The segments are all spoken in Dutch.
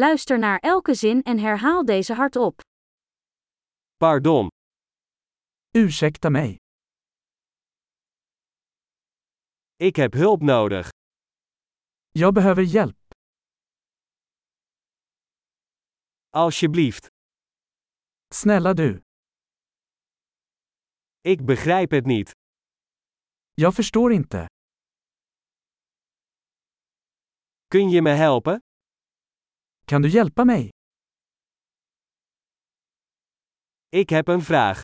Luister naar elke zin en herhaal deze hardop. Pardon. Ursäkta mig. Ik heb hulp nodig. Jag behöver hjälp. Alsjeblieft. Snälla du. Ik begrijp het niet. Jag förstår inte. Kun je me helpen? Kan du hjälpa mig? Ik heb een vraag.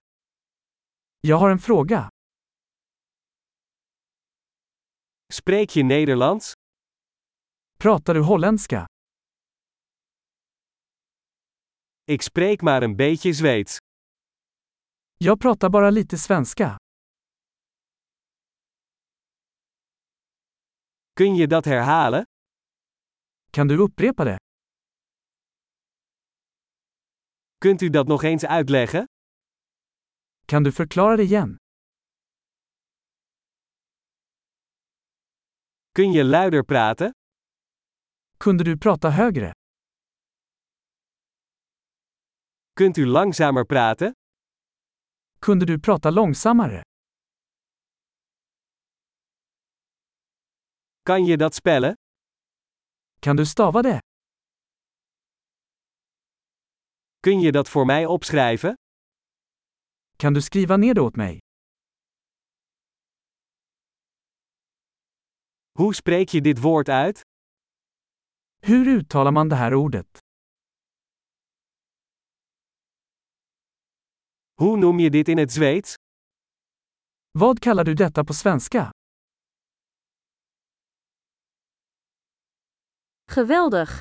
Jag har en fråga. Spreek je Nederlands? Pratar du holländska? Ik spreek maar een beetje Zweeds. Jag pratar bara lite svenska. Kun je dat herhalen? Kan du upprepa det? Kunt u dat nog eens uitleggen? Kan du förklara det igen? Kun je luider praten? Kunde du prata högre? Kunt u langzamer praten? Kunde du prata långsammare? Kan je dat spellen? Kan du stava det? Kun je dat voor mij opschrijven? Kan du skriva ner det åt mig? Hoe spreek je dit woord uit? Hur uttalar man det här ordet? Hoe noem je dit in het Zweeds? Vad kallar du detta på svenska? Geweldig!